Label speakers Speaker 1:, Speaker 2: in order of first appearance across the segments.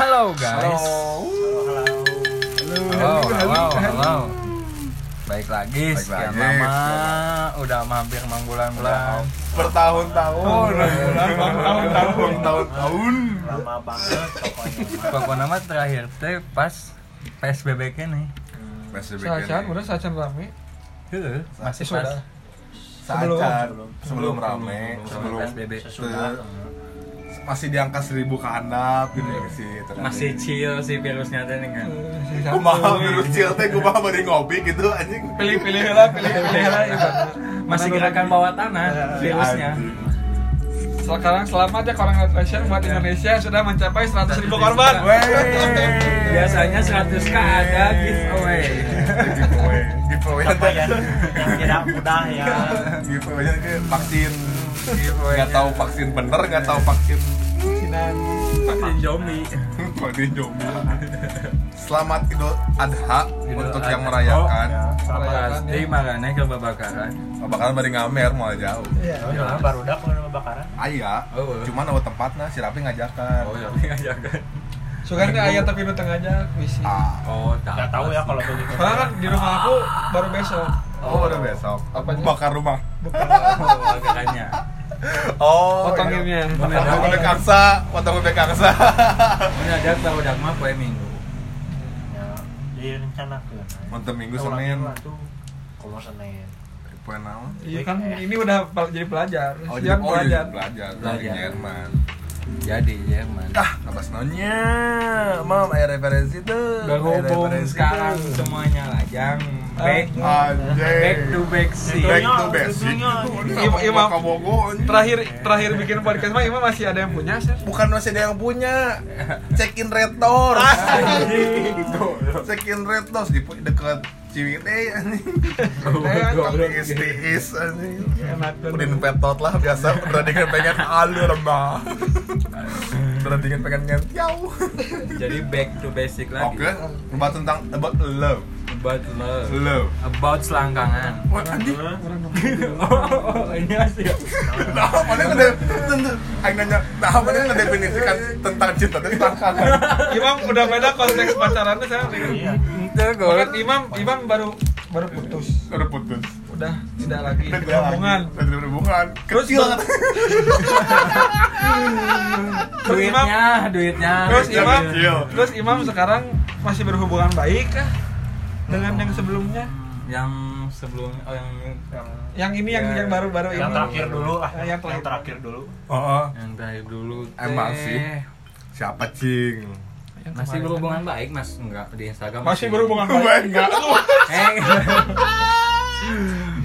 Speaker 1: Halo guys. Halo, halo, halo. Baik lagi,
Speaker 2: Baik
Speaker 1: sekian
Speaker 2: lagi,
Speaker 1: lama.
Speaker 2: sekian
Speaker 1: Udah hampir 6 bulan-bulan.
Speaker 2: bertahun-tahun bertahun-tahun tahun-tahun
Speaker 3: lama banget pokoknya
Speaker 1: Pokoknya nama terakhir teh pas PSBB kene.
Speaker 2: masih
Speaker 4: Sajan, udah sajan rame.
Speaker 1: Heeh, masih
Speaker 4: Sesudah.
Speaker 1: pas
Speaker 4: Sebelum.
Speaker 2: sebelum rame
Speaker 1: sebelum
Speaker 2: sebelum
Speaker 1: PSBB.
Speaker 3: sesudah
Speaker 2: masih di angka seribu ke handap gitu ya sih ternyata.
Speaker 1: Masih chill sih virusnya teh nih kan.
Speaker 2: kumaha virus chill teh kumaha bari ngopi gitu anjing
Speaker 4: Pilih-pilih lah, pilih-pilih lah. iya. Ibu.
Speaker 1: Masih gerakan bawah tanah
Speaker 2: Eh,
Speaker 1: virusnya.
Speaker 2: Anjing.
Speaker 4: Sekarang selamat ya congratulations
Speaker 2: Iya.
Speaker 4: buat Indonesia sudah mencapai 100 ribu korban.
Speaker 2: Wey.
Speaker 1: Biasanya 100k ada giveaway.
Speaker 2: giveaway giveaway
Speaker 3: pencapaian ya? yang tidak mudah ya
Speaker 2: giveaway ke vaksin
Speaker 1: Giveaway.
Speaker 2: nggak tahu vaksin bener nggak tahu vaksin
Speaker 1: vaksin zombie.
Speaker 2: Waduh, jomblo. Selamat Idul Adha
Speaker 1: Idul
Speaker 2: untuk
Speaker 1: Adha. Oh, iya.
Speaker 2: yang merayakan.
Speaker 1: Pasti makanya kebabakaran.
Speaker 2: Bakalan bari ngamer mau jauh.
Speaker 3: Nah, baru udah kalau bakaran
Speaker 2: Aya,
Speaker 1: Iya. Oh, iya.
Speaker 2: cuman nama tempatnya si Rapi ngajakan.
Speaker 1: Oh, zombie aja
Speaker 4: Sugan ke ayat tapi nu tengah aja misi.
Speaker 2: Ah.
Speaker 1: Oh, tak.
Speaker 3: nggak tahu ya kalau begitu
Speaker 4: Soalnya kan di rumah aku baru besok.
Speaker 2: Oh,
Speaker 1: iya.
Speaker 2: udah besok.
Speaker 4: Apanya?
Speaker 2: Bakar rumah.
Speaker 1: Oh, makanya. iya.
Speaker 2: Oh,
Speaker 4: Potonginnya.
Speaker 2: Potong bebek angsa, potong bebek angsa.
Speaker 1: Mendadak tahu dak mah poe minggu.
Speaker 3: ya direncanakan
Speaker 2: Untuk minggu Senin.
Speaker 3: tuh komo senin
Speaker 2: Poe naon?
Speaker 4: Iya kan ini udah pel- jadi pelajar.
Speaker 2: Oh,
Speaker 4: Siap
Speaker 2: jadi- oh, jadi
Speaker 4: pelajar.
Speaker 2: belajar. Dari
Speaker 1: Belajar.
Speaker 2: Jerman.
Speaker 1: Jadi ya, Jerman.
Speaker 2: Ah, apa senonnya? Mam, ada referensi tuh.
Speaker 1: Berhubung sekarang semuanya lajang
Speaker 4: Ah.
Speaker 1: back
Speaker 2: Anjay.
Speaker 1: back to back sih.
Speaker 2: Back to basic.
Speaker 3: Tentunya.
Speaker 4: Ima- Imam.
Speaker 2: Kabogohan.
Speaker 4: Terakhir terakhir bikin podcast mah Ima masih ada yang punya sih.
Speaker 2: bukan masih ada yang punya check in red doors check in red doors di dekat Ciwidey anjing tapi istis anjing
Speaker 4: Enak
Speaker 2: Udin petot lah biasa berandingan pengen alur mah berandingan pengen ngentiau
Speaker 1: Jadi back to basic lagi.
Speaker 2: oke ngebahas tentang about love
Speaker 1: About love.
Speaker 2: love
Speaker 1: About selangkangan.
Speaker 2: Wah, anjing,
Speaker 1: Oh, ini
Speaker 4: iya
Speaker 1: asli.
Speaker 2: nah, mana yang ngede- tentu, aing nanya, nah, mana yang ngedefinisikan tentang cinta itu selangkangan?
Speaker 4: Imam udah beda konteks pacarannya saya.
Speaker 3: iya
Speaker 1: Itu
Speaker 4: Bahkan Imam Imam baru baru putus.
Speaker 2: Udah putus.
Speaker 4: Udah tidak lagi
Speaker 2: Udah tidak lagi.
Speaker 4: hubungan.
Speaker 2: Udah tidak berhubungan.
Speaker 4: Terus
Speaker 2: Kecil
Speaker 4: ber-
Speaker 2: kan?
Speaker 4: Terus Imam
Speaker 1: Duitnya, duitnya.
Speaker 4: terus
Speaker 2: Kecil,
Speaker 4: Imam
Speaker 3: Iya.
Speaker 2: kecil.
Speaker 4: terus Imam sekarang masih berhubungan baik kah dengan yang sebelumnya?
Speaker 1: yang sebelum oh yang
Speaker 4: Yang ini yang
Speaker 1: Ya.
Speaker 4: yang baru-baru ini.
Speaker 3: yang terakhir dulu ah
Speaker 4: Yang
Speaker 3: yang
Speaker 4: terakhir.
Speaker 3: terakhir dulu
Speaker 2: Heeh.
Speaker 1: yang dari dulu teh.
Speaker 2: Emang sih. Siapa cing?
Speaker 1: masih
Speaker 4: Yang kemarin.
Speaker 1: berhubungan baik mas enggak di Instagram
Speaker 4: Masih berhubungan
Speaker 1: Oh
Speaker 4: baik.
Speaker 2: Baik enggak?
Speaker 1: Eh.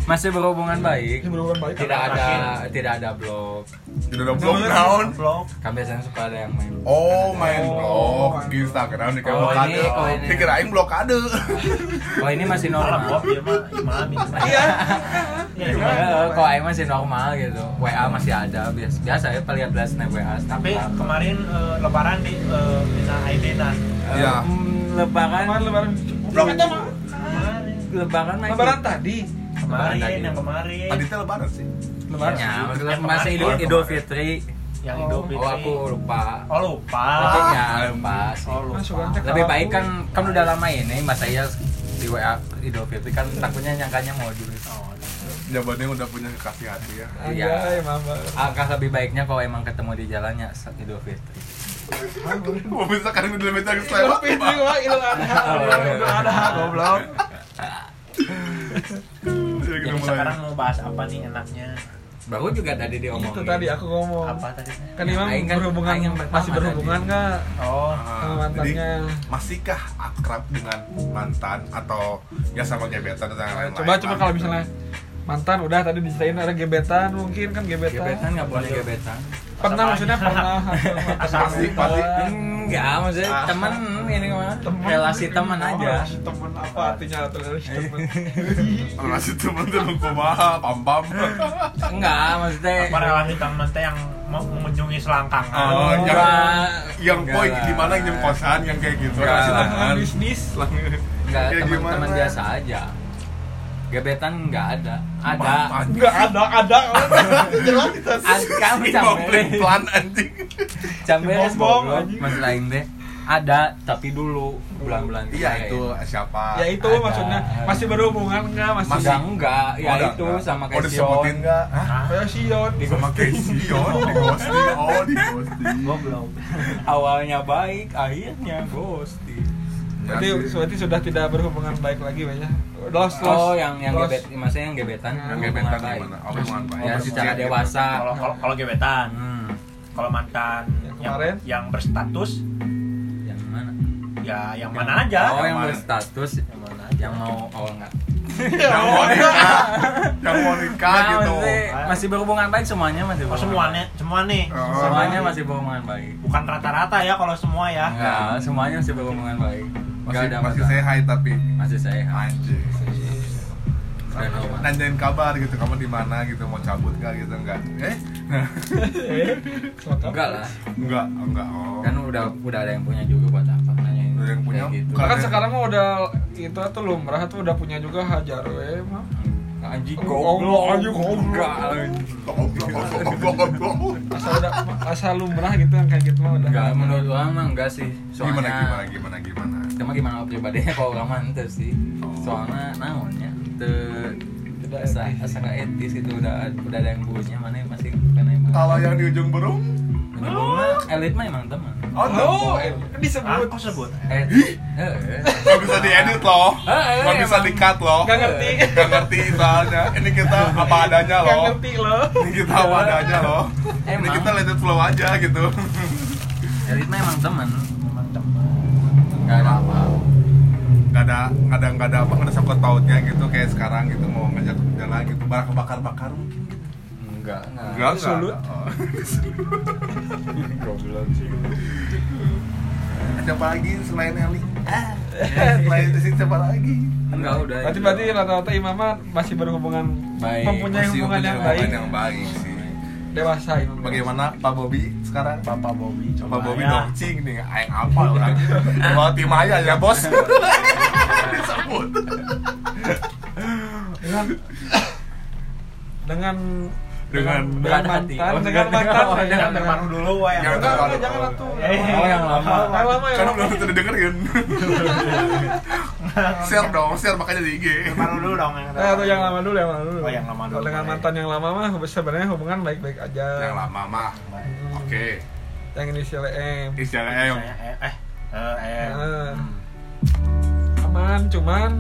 Speaker 1: masih berhubungan baik
Speaker 4: Masih berhubungan baik.
Speaker 1: tidak ada tidak ada blog
Speaker 2: Tidak ada blog naon.
Speaker 3: vlog
Speaker 1: kan biasanya suka ada yang main
Speaker 2: Oh, main
Speaker 4: Oh.
Speaker 2: blog di Instagram di kamu
Speaker 1: Oh, ini,
Speaker 2: kade.
Speaker 1: oh, ini.
Speaker 2: Dikirain blokade.
Speaker 1: kalau Oh, ini masih
Speaker 3: malah
Speaker 1: normal
Speaker 3: blog dia mah imami
Speaker 4: Iya.
Speaker 3: Iya,
Speaker 1: Eh,
Speaker 3: imami.
Speaker 1: kalau ini masih normal gitu WA masih ada biasa biasa ya paling belas nih WA
Speaker 3: tapi kemarin eh, lebaran di eh, Mina Aidena
Speaker 2: Iya.
Speaker 1: Ya. Hmm, lebaran
Speaker 4: Kemarin lebaran.
Speaker 2: Blok.
Speaker 4: Kita mah
Speaker 3: kemarin
Speaker 1: lebaran masih Iya,
Speaker 4: lebaran tadi.
Speaker 1: Lebaran
Speaker 3: kemarin
Speaker 1: tadi.
Speaker 3: yang kemarin
Speaker 2: Aditnya lebaran sih.
Speaker 4: Lebaran.
Speaker 1: Ya,
Speaker 3: Yang
Speaker 1: masih
Speaker 3: kemarin.
Speaker 1: Idul Idul Fitri
Speaker 3: yang Idul Fitri
Speaker 1: oh aku lupa
Speaker 3: oh lupa
Speaker 1: tapi ya lupa sih
Speaker 3: oh
Speaker 4: Nah,
Speaker 3: lupa
Speaker 4: suka cek
Speaker 1: lebih
Speaker 4: kalau
Speaker 1: baik
Speaker 4: aku.
Speaker 1: kan kan udah lama ini mas saya di WA Idul Fitri kan takutnya nyangkanya mau dulu
Speaker 3: Oh,
Speaker 2: Jawabannya udah punya kekasih hati ya.
Speaker 1: Iya.
Speaker 4: Anjay, Imam.
Speaker 1: Alangkah lebih baiknya kalau emang ketemu di jalannya saat Idul Fitri
Speaker 2: Mau bisa kan udah lebih dari
Speaker 4: Idul
Speaker 2: selewat.
Speaker 4: Fitri wah Idul Adha. Idul Adha goblok.
Speaker 2: Jadi kita
Speaker 3: jadi sekarang
Speaker 2: mulai.
Speaker 3: mau bahas apa nih enaknya
Speaker 1: baru juga tadi diomongin
Speaker 4: Itu tadi aku ngomong.
Speaker 3: apa tadi
Speaker 4: Kan
Speaker 1: Ya,
Speaker 4: Imam
Speaker 1: Aing kan-
Speaker 4: berhubungan
Speaker 1: Aing yang pertama
Speaker 4: masih berhubungan
Speaker 1: tadi.
Speaker 4: enggak?
Speaker 2: Ah,
Speaker 3: oh
Speaker 4: Sama
Speaker 2: jadi,
Speaker 4: mantannya.
Speaker 2: masihkah akrab dengan mantan atau ya sama gebetan atau yang lain?
Speaker 4: Coba coba kalau misalnya mantan udah tadi diceritain ada gebetan mungkin kan gebetan.
Speaker 1: gebetan nggak boleh gebetan
Speaker 4: Pernah maksudnya pernah.
Speaker 2: pasti pasti
Speaker 1: enggak maksudnya temen ini mah
Speaker 4: Temen.
Speaker 1: Hmm. relasi temen aja
Speaker 4: Oh, Temen apa artinya relasi temen?
Speaker 2: relasi teman tuh kumaha pam pam
Speaker 1: enggak maksudnya
Speaker 3: apa relasi teman teh yang mau mengunjungi selangkangan
Speaker 2: Oh,
Speaker 1: enggak
Speaker 2: yang
Speaker 1: Enggak
Speaker 2: poin
Speaker 1: lah.
Speaker 2: di mana yang kosan yang kayak gitu
Speaker 1: Enggak
Speaker 2: relasi
Speaker 1: lah.
Speaker 2: teman
Speaker 4: bisnis.
Speaker 1: enggak
Speaker 2: Kayak
Speaker 1: teman-teman
Speaker 2: gimana?
Speaker 1: biasa aja gebetan enggak ada ada
Speaker 2: Apaan?
Speaker 4: Enggak ada ada. Jelas kita.
Speaker 1: ada kamu
Speaker 2: Ini mau
Speaker 1: sampai
Speaker 2: pelan anjing
Speaker 1: Jam beres
Speaker 4: Bombong,
Speaker 1: goblok
Speaker 4: anjing.
Speaker 1: Mas Lain deh ada tapi dulu bulan-bulan
Speaker 2: Iya
Speaker 1: kemarin.
Speaker 2: itu siapa?
Speaker 4: ya itu
Speaker 1: Ada.
Speaker 4: maksudnya masih berhubungan nggak masih
Speaker 1: Masih enggak, ya
Speaker 2: Udah,
Speaker 1: itu
Speaker 2: enggak.
Speaker 1: sama
Speaker 2: Oh
Speaker 1: kayak
Speaker 2: disebutin
Speaker 1: Sion.
Speaker 2: nggak? Hah?
Speaker 4: kayak Sion
Speaker 2: Sama kayak Sion, di ghosting. Oh di ghosting.
Speaker 3: Goblok.
Speaker 1: Awalnya baik, akhirnya ghosting.
Speaker 4: berarti berarti sudah tidak berhubungan baik lagi banyak lost lost
Speaker 1: Oh, yang yang
Speaker 4: lost.
Speaker 1: gebet, maksudnya yang gebetan.
Speaker 4: Yang
Speaker 2: Yang
Speaker 1: hubungan
Speaker 2: gebetan
Speaker 1: baik.
Speaker 2: gimana? Oh, hubungan baik.
Speaker 1: Ya, secara
Speaker 2: Iya,
Speaker 1: dewasa.
Speaker 2: gitu.
Speaker 3: Kalau kalau kalau gebetan,
Speaker 1: Hmm,
Speaker 3: kalau mantan
Speaker 4: Yang
Speaker 3: yang,
Speaker 4: kemarin?
Speaker 3: yang berstatus
Speaker 1: yang mana?
Speaker 3: ya yang mana aja.
Speaker 1: Oh, yang
Speaker 2: mana?
Speaker 1: berstatus
Speaker 3: Yang mana aja.
Speaker 1: yang mau oh enggak.
Speaker 4: Ya,
Speaker 2: Yang
Speaker 4: oh.
Speaker 2: mau nikah, yang mau nikah
Speaker 1: Nah,
Speaker 2: gitu.
Speaker 1: masih, masih berhubungan baik semuanya masih.
Speaker 3: Oh,
Speaker 1: berhubungan
Speaker 3: semuanya,
Speaker 1: baik.
Speaker 3: semua nih.
Speaker 2: Oh.
Speaker 1: Semuanya masih berhubungan baik.
Speaker 3: Bukan rata-rata ya kalau semua ya.
Speaker 1: Enggak, semuanya masih berhubungan baik. Enggak
Speaker 2: Masih
Speaker 1: ada
Speaker 2: masih
Speaker 1: masalah.
Speaker 2: saya hai tapi
Speaker 1: Masih saya.
Speaker 2: anjing. Nah,
Speaker 1: Udah normal.
Speaker 2: Nanyain kabar gitu, kamu di mana gitu, mau cabut nggak gitu enggak? Eh,
Speaker 4: Eh,
Speaker 1: Enggak lah.
Speaker 2: enggak, enggak. Oh.
Speaker 1: Kan udah udah ada yang punya juga buat apa nanyain.
Speaker 2: Udah yang punya,
Speaker 1: kayak gitu.
Speaker 2: bukan.
Speaker 4: kan sekarang mah udah itu tuh lumrah tuh udah punya juga hajar we mah
Speaker 1: Anjing
Speaker 4: Oh,
Speaker 1: goblok,
Speaker 4: anjing goblok.
Speaker 1: Enggak,
Speaker 4: asal udah asal lumrah gitu yang kayak gitu mah udah
Speaker 1: Enggak, menurut orang mah enggak sih. Soalnya
Speaker 2: Gimana gimana gimana gimana.
Speaker 1: Cuma gimana pribadinya kalau orang mah ente sih. Soalnya naonnya te
Speaker 4: Tidak
Speaker 1: asa
Speaker 4: etis.
Speaker 1: asa nggak etis itu udah udah ada yang punya mana yang masih kena emang.
Speaker 2: Kalau yang di ujung burung,
Speaker 1: Menyebut mah elit mah emang teman.
Speaker 2: oh,
Speaker 4: oh
Speaker 2: eh.
Speaker 4: eh, kan
Speaker 3: Ah,
Speaker 4: disebut
Speaker 3: kok sebut?
Speaker 1: Eh, eh,
Speaker 2: nggak bisa diedit loh,
Speaker 1: Eh,
Speaker 2: nggak
Speaker 1: eh,
Speaker 2: bisa
Speaker 1: emang.
Speaker 2: dikat loh.
Speaker 4: nggak ngerti
Speaker 2: Gak ngerti soalnya. Ini kita apa adanya
Speaker 4: nggak
Speaker 2: loh.
Speaker 4: ngerti loh
Speaker 2: Ini kita apa adanya loh. Ini
Speaker 1: Emang.
Speaker 2: kita legend flow aja gitu.
Speaker 1: elit mah emang teman.
Speaker 3: Emang teman.
Speaker 1: Enggak ada apa.
Speaker 2: Gak ada nggak ada nggak ada apa nggak ada sangkut pautnya gitu kayak sekarang gitu mau ngajak jalan gitu barang kebakar bakar mungkin.
Speaker 1: Enggak,
Speaker 2: Nggak, nggak
Speaker 4: Sulut.
Speaker 2: ada. Oh.
Speaker 1: Goblok sih.
Speaker 2: Eh, Siapa lagi selain Eli? Ah, selain itu siapa lagi?
Speaker 1: Enggak udah.
Speaker 4: berarti berarti rata-rata imamah masih berhubungan
Speaker 1: Baik.
Speaker 4: mempunyai
Speaker 2: Masih
Speaker 4: hubungan
Speaker 2: punya
Speaker 4: yang
Speaker 2: hubungan
Speaker 4: baik
Speaker 2: yang baik sih.
Speaker 4: dewasa imam
Speaker 2: Bagaimana Pak Bobby sekarang?
Speaker 3: Bapak Bobby
Speaker 2: Pak Bobby
Speaker 3: ya.
Speaker 2: dongcing nih, aing apa orang? Kalau tim aja ya bos. Disebut.
Speaker 4: dengan dengan
Speaker 2: Dengan
Speaker 1: berat hati.
Speaker 4: mantan
Speaker 1: Oh,
Speaker 4: dengan
Speaker 1: dengan-
Speaker 4: mantan
Speaker 1: oh,
Speaker 4: saya.
Speaker 1: dengan
Speaker 3: Yang terbaru dulu wah yang
Speaker 2: Yang
Speaker 4: Enggak,
Speaker 2: terbaru.
Speaker 4: enggak, jangan atuh
Speaker 1: Oh, yang lama.
Speaker 4: yang lama yang
Speaker 2: Kan
Speaker 4: lama
Speaker 2: belum tentu didengerin. share dong, share makanya di IG.
Speaker 3: terbaru dulu dong yang
Speaker 4: Eh, atau yang lama dulu, yang lama dulu.
Speaker 3: Oh, yang lama dulu.
Speaker 4: Kalau Dengan
Speaker 3: Baik.
Speaker 4: mantan yang lama mah sebenarnya hubungan baik-baik aja. Hmm.
Speaker 2: Yang lama mah. Oke.
Speaker 4: Yang inisial M.
Speaker 2: Istilahnya yang
Speaker 3: Saya, eh eh eh, eh.
Speaker 4: Eh.
Speaker 3: Hmm.
Speaker 4: Aman, cuman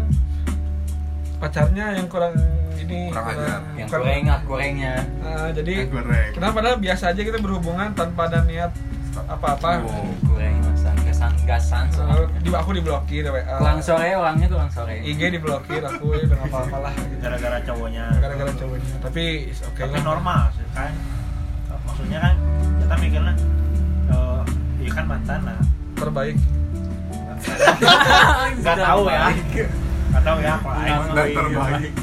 Speaker 4: pacarnya yang kurang ini
Speaker 2: Kurang ajar.
Speaker 1: yang
Speaker 4: kurang-
Speaker 1: goreng gorengnya.
Speaker 4: Nah, jadi
Speaker 2: Yang goreng.
Speaker 4: kita padahal biasa aja kita berhubungan tanpa ada niat apa-apa.
Speaker 1: Oh.
Speaker 2: Wow.
Speaker 1: Goreng masan kesan gasan
Speaker 4: Eh,
Speaker 1: soalnya.
Speaker 4: di aku diblokir ya, WA.
Speaker 1: Tulang sore orangnya tulang sore.
Speaker 4: IG diblokir aku ya udah nggak apa-apa lah gitu.
Speaker 3: gara-gara cowoknya
Speaker 4: Gara-gara cowoknya. Tapi oke
Speaker 3: tapi
Speaker 4: lah.
Speaker 3: normal sih, kan maksudnya kan kita mikirnya eh iya kan mantan lah
Speaker 4: Terbaik.
Speaker 3: nggak tahu ya nggak tahu ya
Speaker 1: Yang
Speaker 3: kalau Aing
Speaker 2: dan
Speaker 1: Iya.
Speaker 2: terbaik.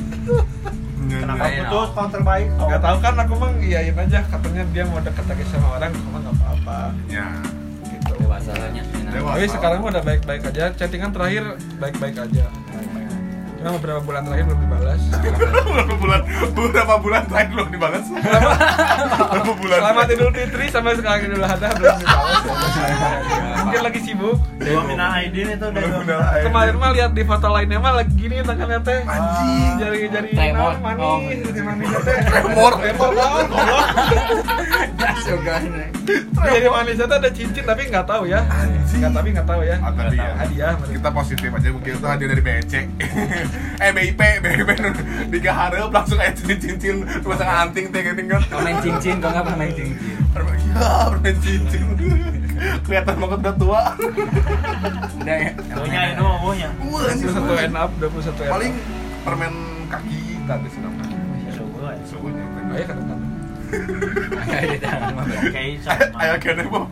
Speaker 3: kenapa
Speaker 1: Iya.
Speaker 3: putus kalau terbaik kalau
Speaker 4: Gak tahu kan aku mah iyain aja katanya dia mau deket lagi sama orang aku mah nggak apa-apa
Speaker 2: Ya.
Speaker 4: gitu.
Speaker 1: Dewasa lahnya.
Speaker 2: Dewa-
Speaker 4: Tapi sekarang mah udah baik-baik aja. Chattingan terakhir baik-baik aja. Cuma beberapa bulan terakhir belum dibalas.
Speaker 2: Berapa bulan? Berapa bulan terakhir belum dibalas? Berapa bulan?
Speaker 4: Selamat Idul Fitri sampai sekarang Idul Adha belum dibalas. ya. Mungkin lagi sibuk.
Speaker 3: dua mina Aidin itu udah dua
Speaker 2: Bener-bener
Speaker 3: mina
Speaker 2: aja.
Speaker 4: Kemarin mah lihat di foto lainnya mah lagi gini tangannya teh.
Speaker 2: Anjing.
Speaker 4: Jari-jari
Speaker 1: Tremor.
Speaker 4: nah,
Speaker 1: Oh.
Speaker 4: manis, jari manis teh.
Speaker 2: Tremor.
Speaker 4: iya. Tremor naon, goblok. Jari manis teh ada cincin tapi nggak tahu ya. Nggak tapi nggak tahu ya.
Speaker 2: Ah, tadi ya.
Speaker 4: Hadiah.
Speaker 2: kita positif aja mungkin itu hadir dari BC eh BIP BIP tiga hari langsung aja cincin cincin terus sang anting ting ting kan
Speaker 1: Permen cincin, kok nggak permen cincin?
Speaker 2: ya permen cincin kelihatan banget udah tua
Speaker 1: Udah ya.
Speaker 3: tuhnya itu ohnya
Speaker 2: Wah, anjing,
Speaker 4: 21 and up, 21 and up.
Speaker 2: paling permen kaki tadi sih namanya suhunya
Speaker 4: Ayo kan kan.
Speaker 1: Ada tangan mah berarti.
Speaker 3: oke
Speaker 2: ayo
Speaker 3: sama
Speaker 2: kene bu